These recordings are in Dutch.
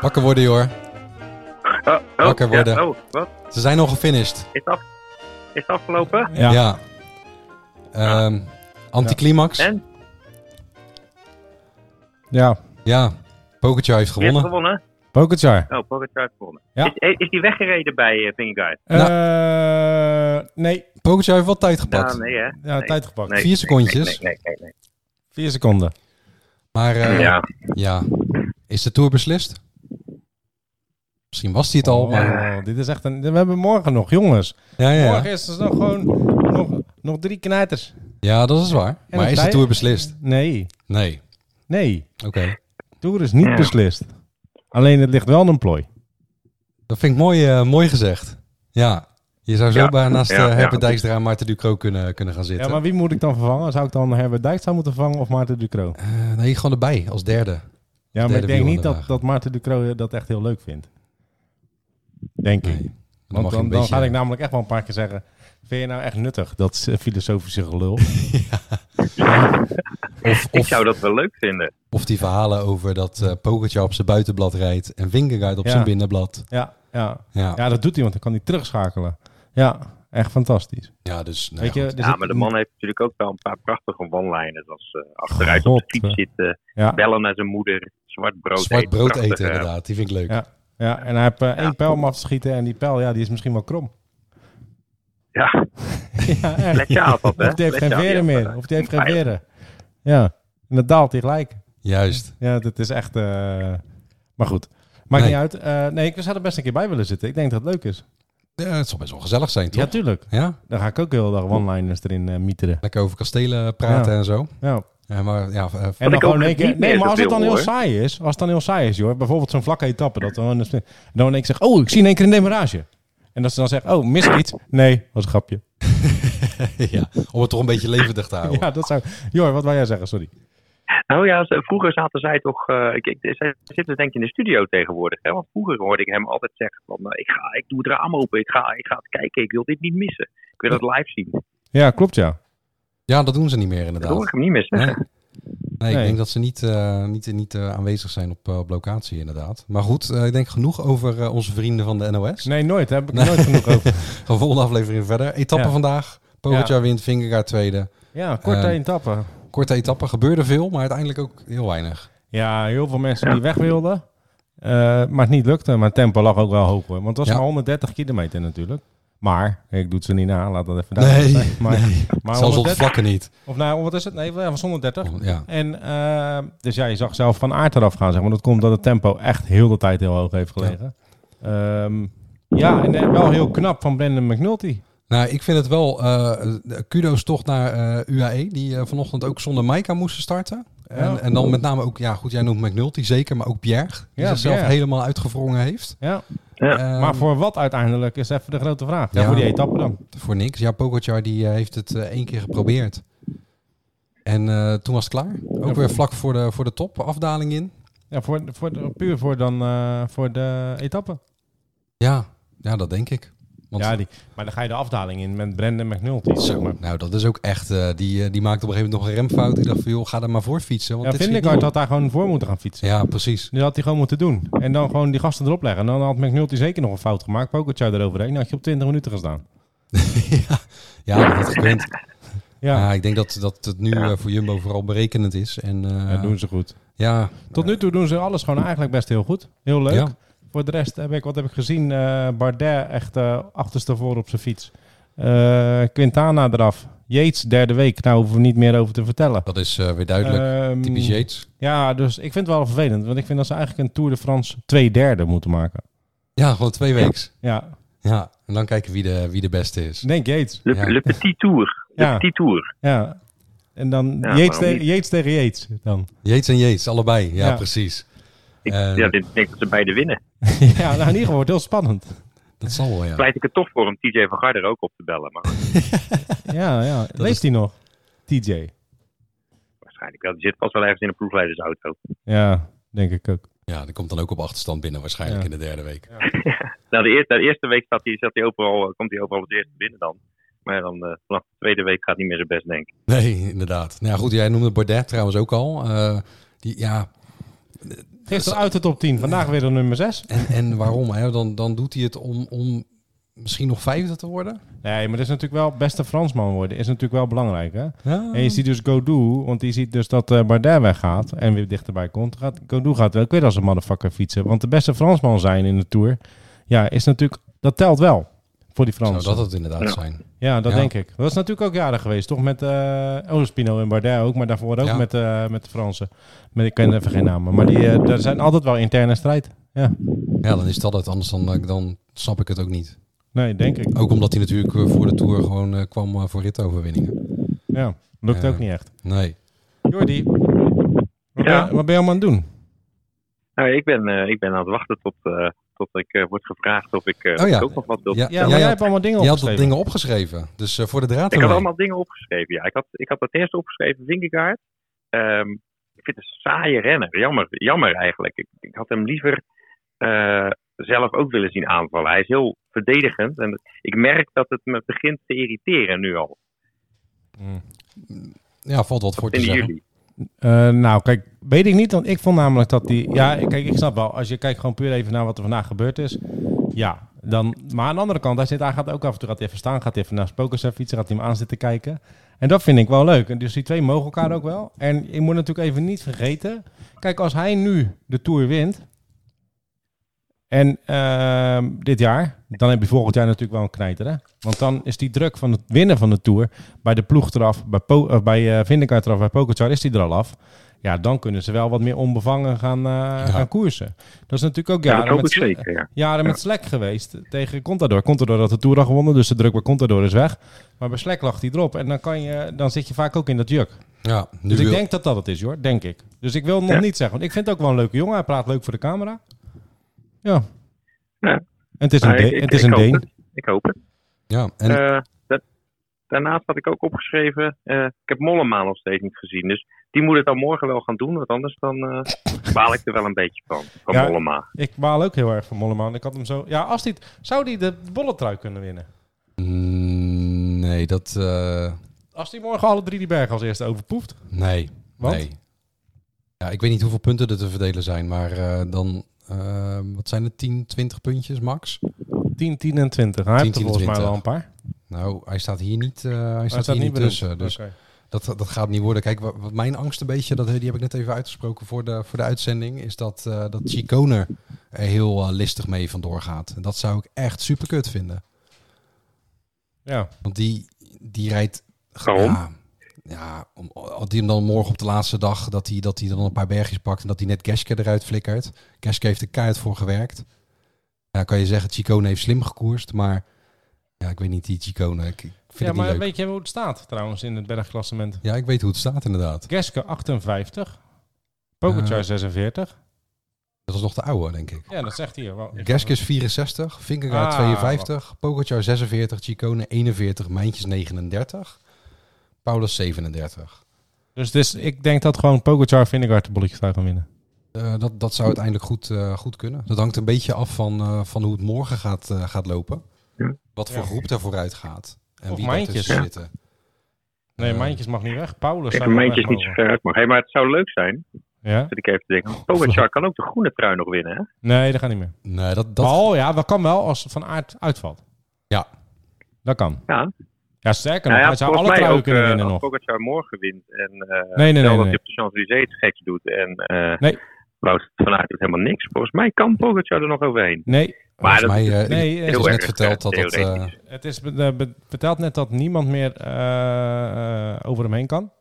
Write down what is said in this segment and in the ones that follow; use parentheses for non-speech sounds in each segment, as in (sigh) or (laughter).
Wakker worden, joh. Oh, oh, Wakker ja, worden. oh, wat? Ze zijn al gefinished. Is het, af, is het afgelopen? Ja. Ja. Ehm, anticlimax. Ja. En? Ja, Pogacar heeft Wie heeft gewonnen. gewonnen? Pogacar. Oh, Pogacar heeft gewonnen. Ja. Is, is die weggereden bij eh, Vingegaard? Nou. Eh, nee, Pogacar heeft wel tijd gepakt. Ja, nee, hè? ja, Nee. tijd gepakt. Nee, Vier secondjes. Nee, nee, nee. Vier seconden. Maar nee. eh, ja. Ja, is de Tour beslist? Misschien was hij het al, maar... Oh, dit is echt een... We hebben morgen nog, jongens. Ja, ja, ja. Morgen is er nog gewoon nog, nog drie knijters. ja, dat is waar. En maar een is de tijd- Tour beslist? Nee, Nee. nee. Oké. Tour is niet Ja. beslist. Alleen het ligt wel aan een plooi. Dat vind ik mooi, eh, mooi gezegd. Ja. Je zou zo Ja. bij naast eh Ja, ja. Herbert Dijkstra en Maarten Ducro kunnen, kunnen gaan Ja, zitten. maar wie moet ik dan vervangen? Zou ik dan Herbert Dijkstra moeten vervangen of Maarten Ducro? Eh, nee, gewoon erbij als derde. Ja, maar derde ik denk wiel aan niet de dat, wagen. dat Maarten Ducro dat echt heel leuk vindt. Denk ik. Nee. Dan mag je Want dan, een dan beetje- ga ik namelijk echt wel een paar keer zeggen... Vind je nou echt nuttig, dat eh, filosofische gelul? Of, ik of, zou dat wel leuk vinden. of die verhalen over dat eh Pogacar op zijn buitenblad rijdt en Vingegaard op Ja. zijn binnenblad. Ja, ja. (laughs) Ja, ja. ja, dat doet hij, want dan kan hij terugschakelen. Ja, echt fantastisch. dus... nou Weet ja, je, goed. er ja, zit- maar de man heeft natuurlijk ook wel een paar prachtige one-liners. Als ze achteruit op God, de fiets eh. zitten, Ja, bellen naar zijn moeder, zwart brood Zwart eten. brood prachtige- eten, inderdaad. Die vind ik leuk. Ja. ja, en hij heeft eh, Ja. één pijl om af te schieten en die pijl, ja, die is misschien wel krom. Ja, (laughs) ja, echt. lekker af dat, hè? Of die heeft geen Lekker veren af, ja. meer. Of die heeft geen Pijl. veren. Ja, en dat daalt hij gelijk. Juist. Ja, dat is echt... eh, Maar goed, maakt Nee. niet uit. Eh, nee, ik zou er best een keer bij willen zitten. Ik denk dat het leuk is. Ja, het zal best wel gezellig zijn, toch? Ja, tuurlijk. Ja, Dan ga ik ook heel dag one-liners erin eh, mieteren. lekker over kastelen praten Ja. en zo. Ja. Ja, maar ja, eh, En Wat dan ik ook gewoon in één keer- niet meer Nee, maar als het zoveel dan heel hoor. saai is, als het dan heel saai is, joh. Bijvoorbeeld zo'n vlakke etappe. Dat dan, en dan in één keer zegt, oh, ik zie in één keer een demarage. En dat ze dan zegt, oh, mis ik iets? Nee, was een grapje. (laughs) ja, om het toch een beetje levendig te houden. (laughs) Ja, dat zou... Jor, wat wil jij zeggen? Sorry. Nou ja, ze- vroeger zaten zij toch. eh, ik, ik, zij zitten denk ik in de studio tegenwoordig. Hè? Want vroeger hoorde ik hem altijd zeggen: van, eh, ik, ga, ik doe het raam open, ik ga, ik ga het kijken, ik wil dit niet missen. Ik wil het live zien. Ja, klopt ja. Ja, dat doen ze niet meer Dat hoor ik inderdaad. hem niet missen. Nee, nee, ik Nee. denk dat ze niet, eh, niet, niet eh, aanwezig zijn op, eh, op locatie inderdaad. Maar goed, eh, ik denk genoeg over eh, onze vrienden van de NOS. Nee, nooit. Daar heb ik nooit genoeg over. Gaan volgende aflevering verder. Etappe Ja. vandaag. Pogacar wint, Vingegaard tweede. Ja, korte Ehm. etappen. Korte etappe, gebeurde veel, maar uiteindelijk ook heel weinig. Ja, heel veel mensen die weg wilden. eh, maar het niet lukte. Maar het tempo lag ook wel hoog hoor. Want het was Ja. maar 130 kilometer natuurlijk. Maar, ik doe het ze niet na, laat dat even duidelijk Nee, zijn. Maar, maar Zelfs op de 130, vlakken niet. of nou, wat is het? Nee, ja, was 130. Ja, En eh, dus ja, je zag zelf van aard eraf gaan, zeg maar. Dat komt dat het tempo echt heel de tijd heel hoog heeft gelegen. Ja, ja en eh, wel heel knap van Brandon McNulty. Nou, ik vind het wel eh, kudo's toch naar eh, UAE, die eh, vanochtend ook zonder Maika moesten starten. En, Ja. en dan met name ook, ja goed, jij noemt McNulty zeker, maar ook Bjerg, die Ja, zichzelf Bjerg. helemaal uitgevrongen heeft. Ja. Ja. Eh, maar voor wat uiteindelijk is even de grote vraag. Ja, Ja. voor die etappe dan. voor niks. Ja, Pogacar die eh, heeft het eh, één keer geprobeerd. En eh, toen was het klaar. Ook weer vlak voor de, voor de top, afdaling in. Ja, voor, voor, de- puur voor, dan, eh, voor de etappe. Ja, ja dat denk ik. Want, Ja, die, maar dan ga je de afdaling in met Brandon McNulty. zeg Zo, maar. nou dat is ook echt, eh, die, eh, die maakte op een gegeven moment nog een remfout. Ik dacht van joh, ga er maar voor fietsen. Want Ja, dit schiet Vindegaard niet had daar gewoon voor moeten gaan fietsen. op. Ja, precies. Dat had hij gewoon moeten doen. En dan gewoon die gasten erop leggen. En dan had McNulty zeker nog een fout gemaakt. Pokertje eroverheen. Dan had je op 20 minuten gestaan. (laughs) ja, ja, dat had gekund. Ja, Ja, ik denk dat, dat het nu Ja. eh, voor Jumbo vooral berekenend is. En eh, dat doen ze goed. ja, Tot nu toe doen ze alles gewoon eigenlijk best heel goed. Heel leuk. Ja. Voor de rest heb ik, wat heb ik gezien? eh, Bardet echt achterste achterstevoren op zijn fiets. Eh, Quintana eraf. Yates derde week. Nou hoeven we niet meer over te vertellen. dat is eh, weer duidelijk. Ehm, Typisch Yates. ja, dus ik vind het wel vervelend. Want ik vind dat ze eigenlijk een Tour de France twee derde moeten maken. Ja, gewoon twee weken. Ja, Ja, en dan kijken wie de, wie de beste is. Nee, Gates. Le, Ja. Le Petit Tour. Le Ja. Petit Tour. Ja. En dan Ja, Yates, waarom te- niet? Yates tegen Yates. (laughs) Dan. Jeets en Jeets, allebei. Ja, Ja. precies. Ik, Eh, ja, ik denk dat ze beide winnen. ja, nou, in ieder geval wordt het heel (laughs) spannend. Dat zal wel, ja. Pleit ik het toch voor om TJ van Garder ook op te bellen. Maar Ja, ja. Leeft is- hij nog? TJ. waarschijnlijk wel. Die zit vast wel ergens in een proefleidersauto. Ja, denk ik ook. Ja, die komt dan ook op achterstand binnen waarschijnlijk Ja. in de derde week. Nou, de eerste, de eerste week staat hij, staat hij overal, eh, komt hij overal als eerste binnen dan. Maar dan eh, vanaf de tweede week gaat hij niet meer zijn best, denk ik. Nee, inderdaad. Nou ja, goed, jij noemde Bordet trouwens ook al. Eh, die, ja, Gisteren uit de top 10, vandaag weer de nummer 6. en, en waarom? Hè? Dan, dan doet hij het om, om misschien nog vijfde te worden. Nee, maar dat is natuurlijk wel beste Fransman worden. Is natuurlijk wel belangrijk, hè? Ja, En je ziet dus Godou, want die ziet dus dat eh Bardet weggaat en weer dichterbij komt. Gaat, Godou gaat wel weer als een motherfucker fietsen. Want de beste Fransman zijn in de Tour, ja, is natuurlijk, dat telt wel voor die zou Fransen. dat het inderdaad Ja. zijn. Ja, dat Ja. denk ik. Dat is natuurlijk ook jaren geweest, toch? Met eh Ospino en Bardet ook, maar daarvoor ook Ja. met, eh, met de Fransen. Met, ik ken even geen namen, maar die, eh, daar zijn altijd wel interne strijd. Ja, Ja, dan is dat het. Anders dan, eh, dan snap ik het ook niet. nee, denk ik. Ook omdat hij natuurlijk eh, voor de Tour gewoon eh, kwam eh, voor ritoverwinningen. Ja, lukt Ja. ook niet echt. Nee. Jordi, wat, Ja. ben, je- wat ben je allemaal aan het doen? Nou, ik ben, eh, ik ben aan het wachten tot, eh, tot ik eh, word gevraagd of ik eh, Oh ja. ook nog wat wil. Ja, Ja, ja, maar jij jij, hebt had, allemaal dingen jij had wat opgeschreven. dingen opgeschreven. Dus eh, voor de draad Ik had ermee. allemaal dingen opgeschreven, ja. Ik had, ik had het eerst opgeschreven, Vingegaard. Ehm, ik vind het een saaie renner. Jammer, jammer eigenlijk. Ik, ik had hem liever eh, zelf ook willen zien aanvallen. Hij is heel verdedigend. En ik merk dat het me begint te irriteren nu al. Ja, valt wat voor te In zeggen. juli. Eh, nou, kijk, weet ik niet, want ik vond namelijk dat die... Ja, kijk, ik snap wel. Als je kijkt gewoon puur even naar wat er vandaag gebeurd is. Ja, dan... Maar aan de andere kant, hij, zit, hij gaat ook af en toe gaat hij even staan. Gaat hij even naar Spokers fietsen, gaat hij hem aan zitten kijken. En dat vind ik wel leuk. En dus die twee mogen elkaar ook wel. En je moet natuurlijk even niet vergeten... Kijk, als hij nu de Tour wint... En ehm, dit jaar, dan heb je volgend jaar natuurlijk wel een knijter, hè? Want dan is die druk van het winnen van de Tour bij de ploeg eraf, bij, po of bij eh Vindegaard eraf, bij Pogacar is die er al af. Ja, dan kunnen ze wel wat meer onbevangen gaan, eh, gaan koersen. Dat is natuurlijk ook Ja, jaren, dat hoop met, ik sle- zeker, ja. jaren met Slek geweest tegen Contador. Contador had de Tour al gewonnen, dus de druk bij Contador is weg. Maar bij Slek lag die erop en dan, kan je, dan zit je vaak ook in dat juk. Ja, nu Dus ik wil- denk dat dat het is, hoor. Denk ik. Dus ik wil nog Ja. niet zeggen, want ik vind het ook wel een leuke jongen. Hij praat leuk voor de camera. Ja. Ja. En het is een, Maar Deen- ik- ik- het is ik een hoop Deen. het. Ik hoop het. ja, en Eh, da- daarnaast had ik ook opgeschreven, eh, ik heb Mollema nog steeds niet gezien. Dus die moet het dan morgen wel gaan doen, want anders dan eh, baal ik er wel een beetje van, van Ja. Mollema. Ik baal ook heel erg van Molleman. Ik had hem zo... Ja, als die... het- Zou die de bolletrui kunnen winnen? Eh. mm, nee, dat... eh, Als die morgen alle drie die bergen als eerste overpoeft? nee. Want? Nee. Ja, ik weet niet hoeveel punten er te verdelen zijn, maar eh, dan... eh, wat zijn het? 10, 20 puntjes max? 10, 10 en 20. Hij 10, heeft 10 er en volgens 20. mij wel een paar. Maar Nou, hij staat hier niet, eh, hij staat hij hier niet benoemd. tussen. Dus Oké. dat, dat gaat niet worden. Kijk, wa- wat mijn angst een beetje, dat, die heb ik net even uitgesproken voor de, voor de uitzending, is dat, eh dat Chicone er heel eh, listig mee vandoor gaat. En dat zou ik echt super kut vinden. Ja. Want die, die rijdt. Waarom? Ja, ja om, als die hem dan morgen op de laatste dag. dat hij dat hij dan een paar bergjes pakt. en dat hij net Geske eruit flikkert. Geske heeft er keihard voor gewerkt. Ja, kan je zeggen, Chicone heeft slim gekoerst. Maar ja, ik weet niet, die Chicone. Ik, ik vind het ja, niet maar leuk. weet je hoe het staat trouwens in het bergklassement? Ja, ik weet hoe het staat inderdaad. Geske 58. Pogacar Eh. 46. Dat is nog de oude, denk ik. Ja, dat zegt hij. hier wel. Geske is 64, Vingegaard Ah, 52, Pogacar 46, Chicone 41, Mijntjes 39, Paulus 37. Dus, dus ik denk dat gewoon Pogacar Vindegaard de bolletjestrui gaan winnen. Eh, dat, dat zou uiteindelijk goed, eh, goed kunnen. Dat hangt een beetje af van, eh, van hoe het morgen gaat, eh, gaat lopen. Ja. Wat voor Ja. groep daar vooruit gaat. En Of wie daar Mijntjes. tussen Ja. zitten. Nee, Eh, Mijntjes mag niet weg. Paulus Ik zou een wel meentje is niet zo wegmogen. ver uit, maar, hey, maar het zou leuk zijn, Ja? zit ik even te denken. Pogacar kan ook de groene trui nog winnen, hè? Nee, dat gaat niet meer. Nee, dat, Dat... dat, ja, dat kan wel als Van Aert uitvalt. Ja. Dat kan. Ja. Ja, sterker Nou nog, ja, hij zou volgens alle mij truien ook, kunnen eh, winnen als nog. Pogacar morgen wint en eh Nee, nee, nee. stel dat nee. hij op de Champs-Élysées het geks doet en eh Nee. Wout van Aert doet helemaal niks. Volgens mij kan Pogacar er nog overheen. nee. volgens Maar dat mij is eh, nee, het heel is net erg, verteld dat eh, dat... eh, theoretisch. Het is be- eh, be- verteld net dat niemand meer eh, eh, over hem heen kan.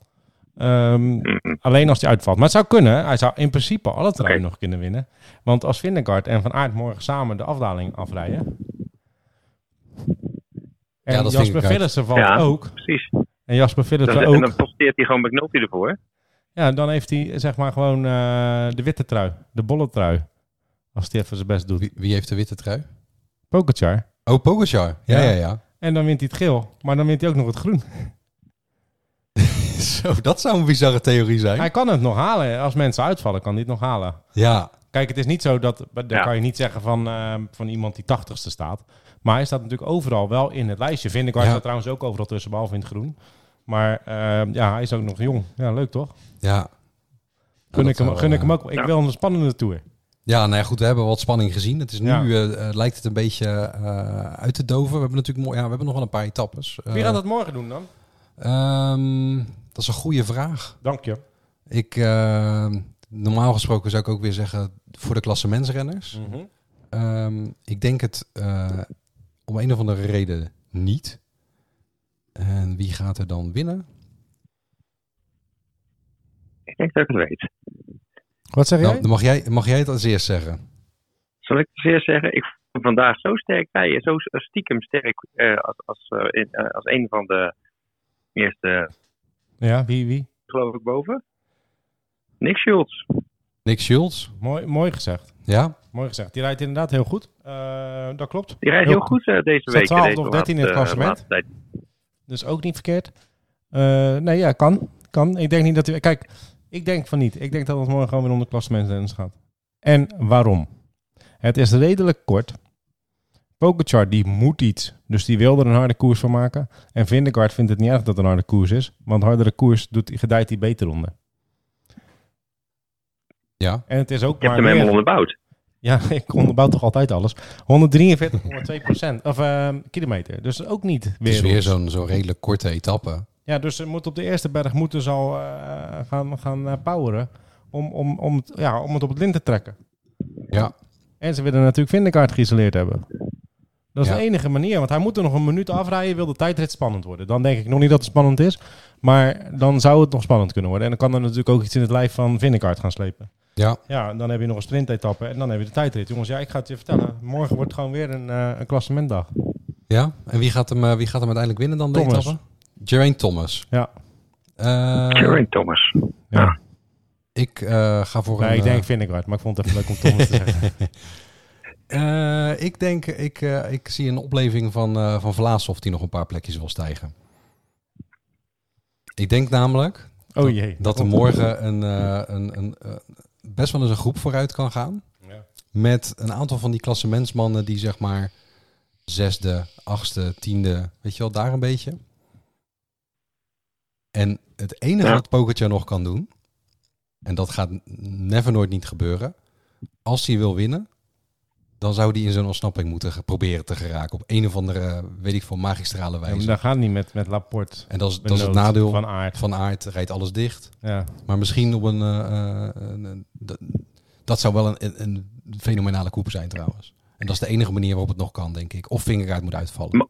Ehm, Mhm. alleen als hij uitvalt. Maar het zou kunnen. Hij zou in principe alle truien Oké. nog kunnen winnen. Want als Vindegaard en Van Aert morgen samen de afdaling afrijden... En Ja, dat vind Jasper ik uit. Philipsen valt Ja. ook. Precies. En Jasper Philipsen Dan, en dan ook. posteert hij gewoon McNulty ervoor. Ja, dan heeft hij zeg maar gewoon eh, de witte trui. De bolle trui. Als hij even zijn best doet. Wie, wie heeft de witte trui? Pokerchar. Oh, Pogacar. Ja, ja, Ja. ja. (laughs) En dan wint hij het geel. Maar dan wint hij ook nog het groen. Zo, dat zou een bizarre theorie zijn. Hij kan het nog halen. Als mensen uitvallen, kan hij het nog halen. Ja, Kijk, het is niet zo dat. Daar Ja. kan je niet zeggen van, eh, van iemand die tachtigste staat. Maar hij staat natuurlijk overal wel in het lijstje. Vind ik hij Ja. staat trouwens ook overal tussen, behalve in het groen. Maar eh, ja, hij is ook nog jong. Ja, leuk toch? ja. Nou, Gun, dat ik, hem, zou, gun ik eh, hem ook. Ik Ja. wil een spannende tour. Ja, nou ja, goed, we hebben wat spanning gezien. Het is nu, Ja. eh, eh, lijkt het een beetje eh, uit te doven. We hebben natuurlijk mooi, ja, we hebben nog wel een paar etappes. Eh, Wie gaat dat morgen doen dan? Ehm, dat is een goede vraag. Dank je. Ik, eh, normaal gesproken zou ik ook weer zeggen voor de klassementsrenners. Mhm. Ehm, ik denk het eh, om een of andere reden niet. En wie gaat er dan winnen? Ik denk dat ik het weet. Wat zeg Nou, dan mag jij, mag jij het als eerst zeggen. Zal ik zeer zeggen, ik voel me vandaag zo sterk bij je, zo stiekem sterk eh, als, als, eh, in, eh, als een van de eerste, Ja, wie, wie? geloof ik, boven. Nick Schultz. Nick Schultz, Mooi, mooi gezegd. ja? Mooi gezegd. Die rijdt inderdaad heel goed. Eh, dat klopt. Die rijdt Heel heel goed eh, deze Staat week. 12 deze of 13 in het laatste- klassement. laatste tijd. Dus ook niet verkeerd. Eh, nee, ja, kan. Kan. Ik denk niet dat u... Kijk, ik denk van niet. Ik denk dat het morgen gewoon weer onder klassementsrenners gaat. En waarom? Het is redelijk kort. Pogacar, die moet iets. Dus die wil er een harde koers van maken. En Vindegaard vindt het niet erg dat er een harde koers is. Want hardere koers doet, gedijt hij beter onder. Ja, En het is ook Je hebt maar hem helemaal weer- onderbouwd. Ja, (laughs) ik onderbouw toch altijd alles. 143,2 procent. Of eh, kilometer. Dus ook niet het is weer. weer zo'n zo'n redelijk korte etappe. Ja, dus ze moet op de eerste berg moeten ze al eh, gaan, gaan eh, poweren om, om, om, het, ja, om het op het lint te trekken. Ja, En ze willen natuurlijk Vindekaart geïsoleerd hebben. Dat is Ja. de enige manier, want hij moet er nog een minuut afrijden, wil de tijdrit spannend worden. Dan denk ik nog niet dat het spannend is, maar dan zou het nog spannend kunnen worden. En dan kan er natuurlijk ook iets in het lijf van Vindekaart gaan slepen. ja. Ja, en dan heb je nog een sprintetappe en dan heb je de tijdrit. Jongens, ja, ik ga het je vertellen. Morgen wordt gewoon weer een, eh een klassementdag. Ja, en wie gaat hem, eh, wie gaat hem uiteindelijk winnen dan de Thomas. etappe? Geraint Thomas. Ja. Eh, Geraint Thomas. ja. Ja. Ik eh, ga voor Nee, een... ik denk eh, Vindekaart, maar ik vond het even leuk om Thomas te zeggen. eh, ik denk, ik, eh, ik zie een opleving van, eh van Vlaashoff die nog een paar plekjes wil stijgen. Ik denk namelijk Oh jee. (laughs) dat er morgen een, eh, een, een, eh, best wel eens een groep vooruit kan gaan. Ja. Met een aantal van die klassementsmannen die zeg maar zesde, achtste, tiende, weet je wel, daar een beetje. En het enige Ja. wat Pokertje nog kan doen, en dat gaat n- never nooit niet gebeuren, als hij wil winnen, dan zou hij in zo'n ontsnapping moeten ge- proberen te geraken op een of andere, weet ik veel, magistrale Ja, maar wijze. dat gaat niet met, met Laporte. en dat is, dat Benoot, is het nadeel van, Van Aard, Aert. rijdt alles dicht. Ja. Maar misschien op een, eh, eh, een- een- dat, dat zou wel een, een, een fenomenale koep zijn trouwens. En dat is de enige manier waarop het nog kan, denk ik. Of Vingeraard moet uitvallen.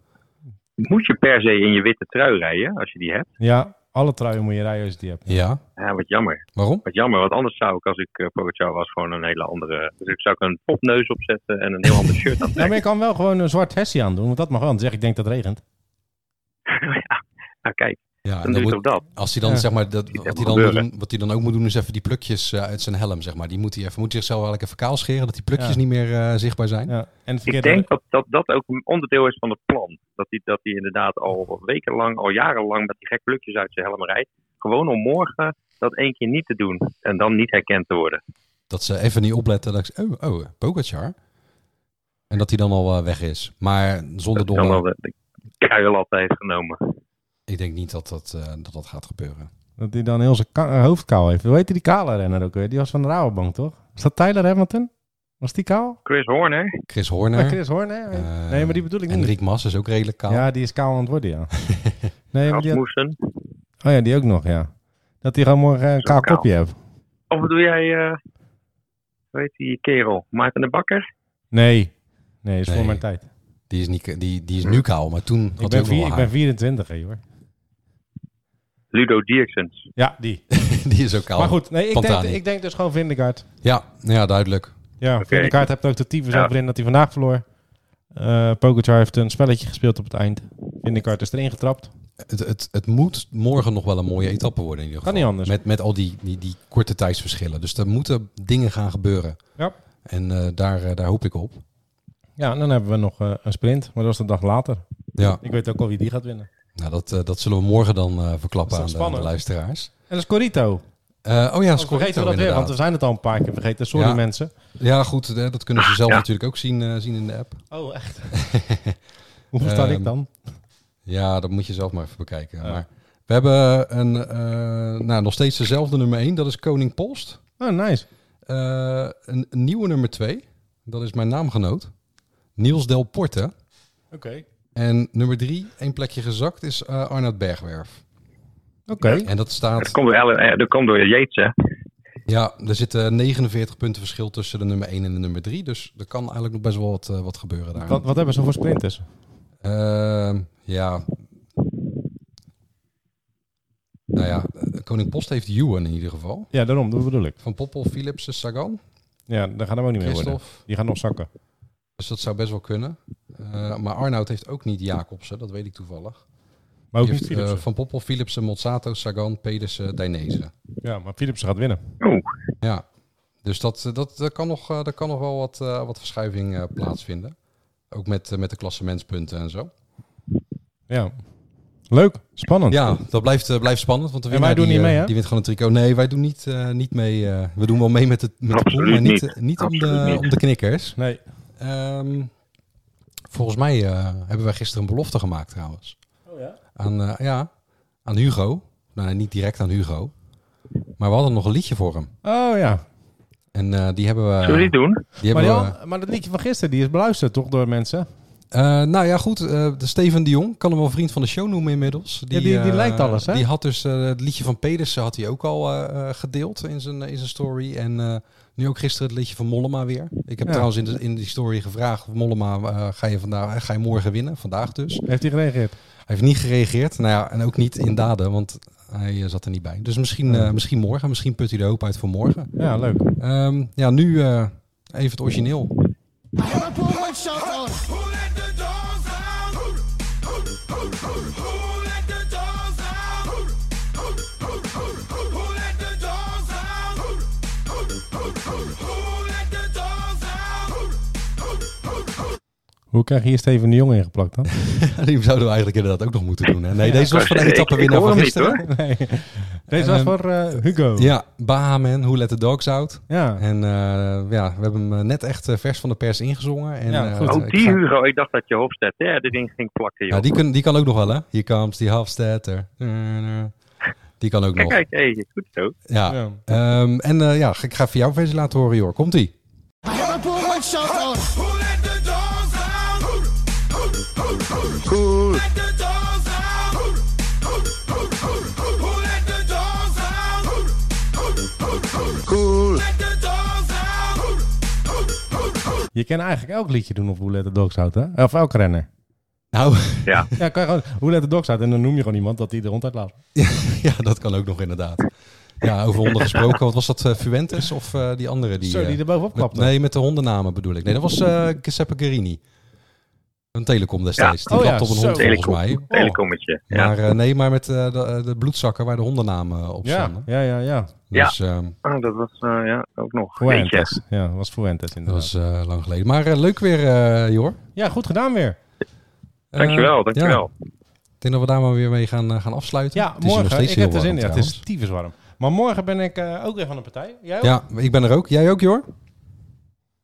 Moet je per se in je witte trui rijden, als je die hebt? ja, alle truien moet je rijden als je die hebt. Nou, Ja, Ja, wat jammer. waarom? Wat jammer, want anders zou ik, als ik uh, Pogacar was, gewoon een hele andere... Dus ik zou ik een popneus opzetten en een heel ander shirt (laughs) Ja, maar aantrekken. je kan wel gewoon een zwart hessie aan doen, want dat mag wel. Dan zeg ik, ik denk dat het regent. ja, nou kijk, Ja, en dan dan doe je moet, toch dat. Als hij dan, Ja. zeg maar, dat, Ziet wat, hij hem dan moet gebeuren. doen, wat hij dan ook moet doen, is even die plukjes eh, uit zijn helm, zeg maar. Die moet hij even, moet hij zichzelf eigenlijk even kaal scheren, dat die plukjes Ja. niet meer eh, zichtbaar zijn. Ja. En het Ik verkeerde... denk dat, dat dat ook een onderdeel is van het plan. Dat hij dat die inderdaad al wekenlang, al jarenlang met die gek plukjes uit zijn helm rijdt. Gewoon om morgen dat één keer niet te doen en dan niet herkend te worden. Dat ze even niet opletten, dat ik, oh, oh, Pogacar. En dat hij dan al eh, weg is. Maar zonder Dat hij dan domme, al de, de kuilat heeft genomen. ik denk niet dat dat, eh, dat, dat gaat gebeuren. Dat hij dan heel zijn ka- eh, hoofd kaal heeft. Hoe heette die kale renner ook weer? Die was van de Rabobank, toch? Was dat Tyler Hamilton? Was die kaal? Chris Horner, Chris Ja, Horner, Chris Horn, hè? Eh, nee, maar die bedoel ik niet. Enric Mas is ook redelijk kaal. Ja, die is kaal aan het worden, (laughs) ja. nee, maar die had- Rasmussen. Oh ja, die ook nog, ja. Dat hij gewoon morgen eh, een Zo kaal kaal. kopje heeft. Of wat doe jij, eh hoe heet die kerel? Maarten de Bakker? Nee. Nee, is Nee. voor mijn tijd. Die, is niet, die, die is nu kaal, maar toen Ik had hij ben, ook nog vier, wel ik haar. ben 24, hè, hoor. Ludo Dierksens. Ja, die. (laughs) Die is ook kaal. Maar goed, nee, ik, denk, Pantani. ik denk dus gewoon Vindegaard. Ja, ja, duidelijk. Ja, Oké. Vindegaard hebt ook de tyfus Ja. over in dat hij vandaag verloor. Eh Pogacar heeft een spelletje gespeeld op het eind. Vindegaard is erin getrapt. Het, het, het moet morgen nog wel een mooie etappe worden in ieder Kan geval. niet anders. Met, met al die, die, die korte tijdsverschillen. Dus er moeten dingen gaan gebeuren. Ja. En eh, daar, eh, daar hoop ik op. Ja, en dan hebben we nog eh, een sprint. Maar dat is de dag later. Ja, Ik weet ook al wie die gaat winnen. nou, dat, eh, dat zullen we morgen dan eh, verklappen Dat aan is de, dan aan de spannend. luisteraars. En dat is Corito. Eh, oh ja, Oh, vergeten Scorito we dat weer, inderdaad. want we zijn het al een paar keer vergeten. Sorry Ja. mensen. Ja, goed, eh, dat kunnen ze zelf Ja. natuurlijk ook zien, eh, zien in de app. Oh, echt? (laughs) Hoe versta Ehm, ik dan? Ja, dat moet je zelf maar even bekijken. Ja. Maar we hebben een, eh, nou, nog steeds dezelfde nummer 1, dat is Koning Post. Oh, nice. Eh, een, een nieuwe nummer 2, dat is mijn naamgenoot, Niels Del Porte. Oké. Oké. En nummer 3, één plekje gezakt, is eh Arnoud Bergwerf. En dat Dat staat, komt door, Ellen- eh, dat komt door Yates, hè? ja, er zitten 49 punten verschil tussen de nummer 1 en de nummer 3. Dus er kan eigenlijk nog best wel wat, eh, wat gebeuren daar. Wat, wat hebben ze voor sprinters? Ehm, ja. Nou ja, eh, Koning Post heeft Ewan in ieder geval. Ja, daarom. Dat bedoel ik. Van Poppel, Philipsen, Sagan, Ja, daar gaan we ook niet meer worden. Christophe. Die gaan nog zakken. Dus dat zou best wel kunnen. Eh, maar Arnoud heeft ook niet Jacobsen, dat weet ik toevallig. Maar ook Die niet heeft, eh, Philipsen. van Poppel, Philipsen, Mozzato, Sagan, Pedersen, Dainese. ja, maar Philipsen gaat winnen. Oeh, Ja, dus dat, eh, dat, dat, kan, nog, eh, daar kan nog wel wat, eh, wat verschuiving eh, plaatsvinden. Ook met, eh, met de klassementspunten en (laughs) zo. Ja. Leuk. Spannend. Ja, dat blijft, eh, blijft spannend. Want de En winnaar wij doen die, niet eh, mee, hè? Die wint gewoon een tricot. Nee, wij doen niet, eh, niet mee. eh, we doen wel mee met de, met de pool, Absoluut maar niet, niet. eh, niet, om, de, Absoluut niet. om de knikkers. Nee. Ehm, volgens mij eh, hebben wij gisteren een belofte gemaakt trouwens. Oh ja? Aan, eh, ja, aan Hugo. Nou, nee, niet direct aan Hugo. Maar we hadden nog een liedje voor hem. Oh ja. En eh, die hebben we... zullen we die doen? die Maar, hebben die we al- maar dat liedje van gisteren, die is beluisterd toch door mensen? Eh, nou ja, goed. eh, de Steven de Jong kan hem wel vriend van de show noemen inmiddels. die- die eh, lijkt alles, hè? Die had dus eh, het liedje van Pedersen had hij ook al eh, eh, gedeeld in zijn, in zijn story. En eh, nu ook gisteren het liedje van Mollema weer. Ik heb Ja. trouwens in, de, in die story gevraagd of Mollema, eh, ga, je vandaag, ga je morgen winnen? Vandaag dus. Heeft hij gereageerd? Hij heeft niet gereageerd. Nou ja, en ook niet in daden, want hij eh, zat er niet bij. Dus misschien, eh, misschien morgen. Misschien put hij de hoop uit voor morgen. Ja, leuk. Ehm, ja, nu eh, even het origineel. (laughs) Who let the dogs out? Who, who, who, who, who let the dogs out? Who, who, who, who, who, who let the dogs out? Who, who, who, who, who let the dogs out? Who, Hoe krijg je hier Steven de Jong ingeplakt (laughs) dan? Die zouden we eigenlijk inderdaad ook nog moeten doen. Hè? Nee, deze was van de Eh, Ik- ik- etappe ik winnaar hoor van hem niet, gisteren. hoor. nee. Deze was Ehm, voor eh, Hugo. Ja, Bahaman, Who Let The Dogs Out. Ja. En eh, ja, we hebben hem eh, net echt eh, vers van de pers ingezongen. En, Ja, eh, goed. ik Oh, die ga- Hugo. Ik dacht dat je Hofstad hè, dit ding ging plakken, joh. Ja, die, kun, die kan ook nog wel, hè? Hier comes die Hofstetter. Die kan ook Kijk, nog. kijk, hey, goed zo. Ja. Ja. Ehm, en eh, ja, ik ga even jouw versie laten horen, joh. Komt-ie. who let the dogs out? Who, who, who, who, who let the dogs out? Who, who, who, who, who, who let the dogs out? Who, who, who, who, who let the dogs out? Who, who, who, who, Je kan eigenlijk elk liedje doen op Hoe Let The Dogs Out, hè? Of elk renner. Nou, Ja, Ja, kan je gewoon Hoe Let The Dogs Out en dan noem je gewoon iemand dat die de hond uitlaat. (laughs) ja, dat kan ook nog inderdaad. Ja, over honden gesproken. Wat was dat, eh, Fuentes of eh, die andere? Die, Zo, eh, die er bovenop met- klapt. nee, met de hondennamen bedoel ik. Nee, dat was eh Giuseppe Guerini. Een telecom destijds. Die Oh ja, klapte op een zo. hond, volgens telecom, mij. telecommetje. Ja, Maar eh, nee, maar met eh, de, eh, de bloedzakken waar de hondennamen eh, op Ja, stonden. ja, ja, ja. Ja. Dus ehm, Ah, dat was eh, ja, ook nog. Eentje. Fuentes. Ja, dat was Fuentes dat inderdaad. was eh, lang geleden. Maar eh, leuk weer, eh Jor. Ja, goed gedaan weer. Eh, Dankjewel, ja, dankjewel. ik denk dat we daar maar weer mee gaan, eh, gaan afsluiten. Ja, Het is hier nog morgen. steeds Ik heel heb er zin warm in. Ja, het is trouwens. tyfus warm. Maar morgen ben ik eh, ook weer van de partij. Jij ook? Ja, ik ben er ook. Jij ook, Jor?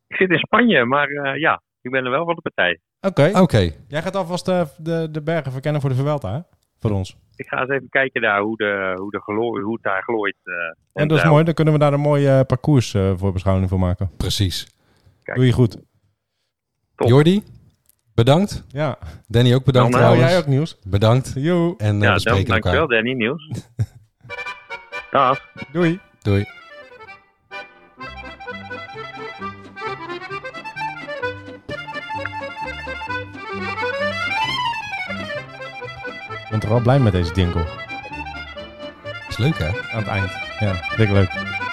Ik zit in Spanje, maar eh, ja, ik ben er wel van de partij. Oké. Oké. Jij gaat alvast eh, de, de bergen verkennen voor de Vuelta, hè? Voor ons. Ik ga eens even kijken daar hoe, de, hoe, de gelo- hoe het daar glooit. eh, En dat is daar- mooi. Dan kunnen we daar een mooi eh, parcours eh, voor beschouwing voor maken. Precies. Kijk. Doe je goed. Top. Jordi, bedankt. Ja. Danny ook bedankt Nou, Nou, trouwens. jij ook nieuws. Bedankt. Joe. En eh, we Ja, dan, spreken elkaar. dankjewel Danny, Niels. Dag. Doei. Doei. Ik ben toch wel blij met deze jingle. Is leuk, hè? Aan het eind. Ja, vind ik leuk.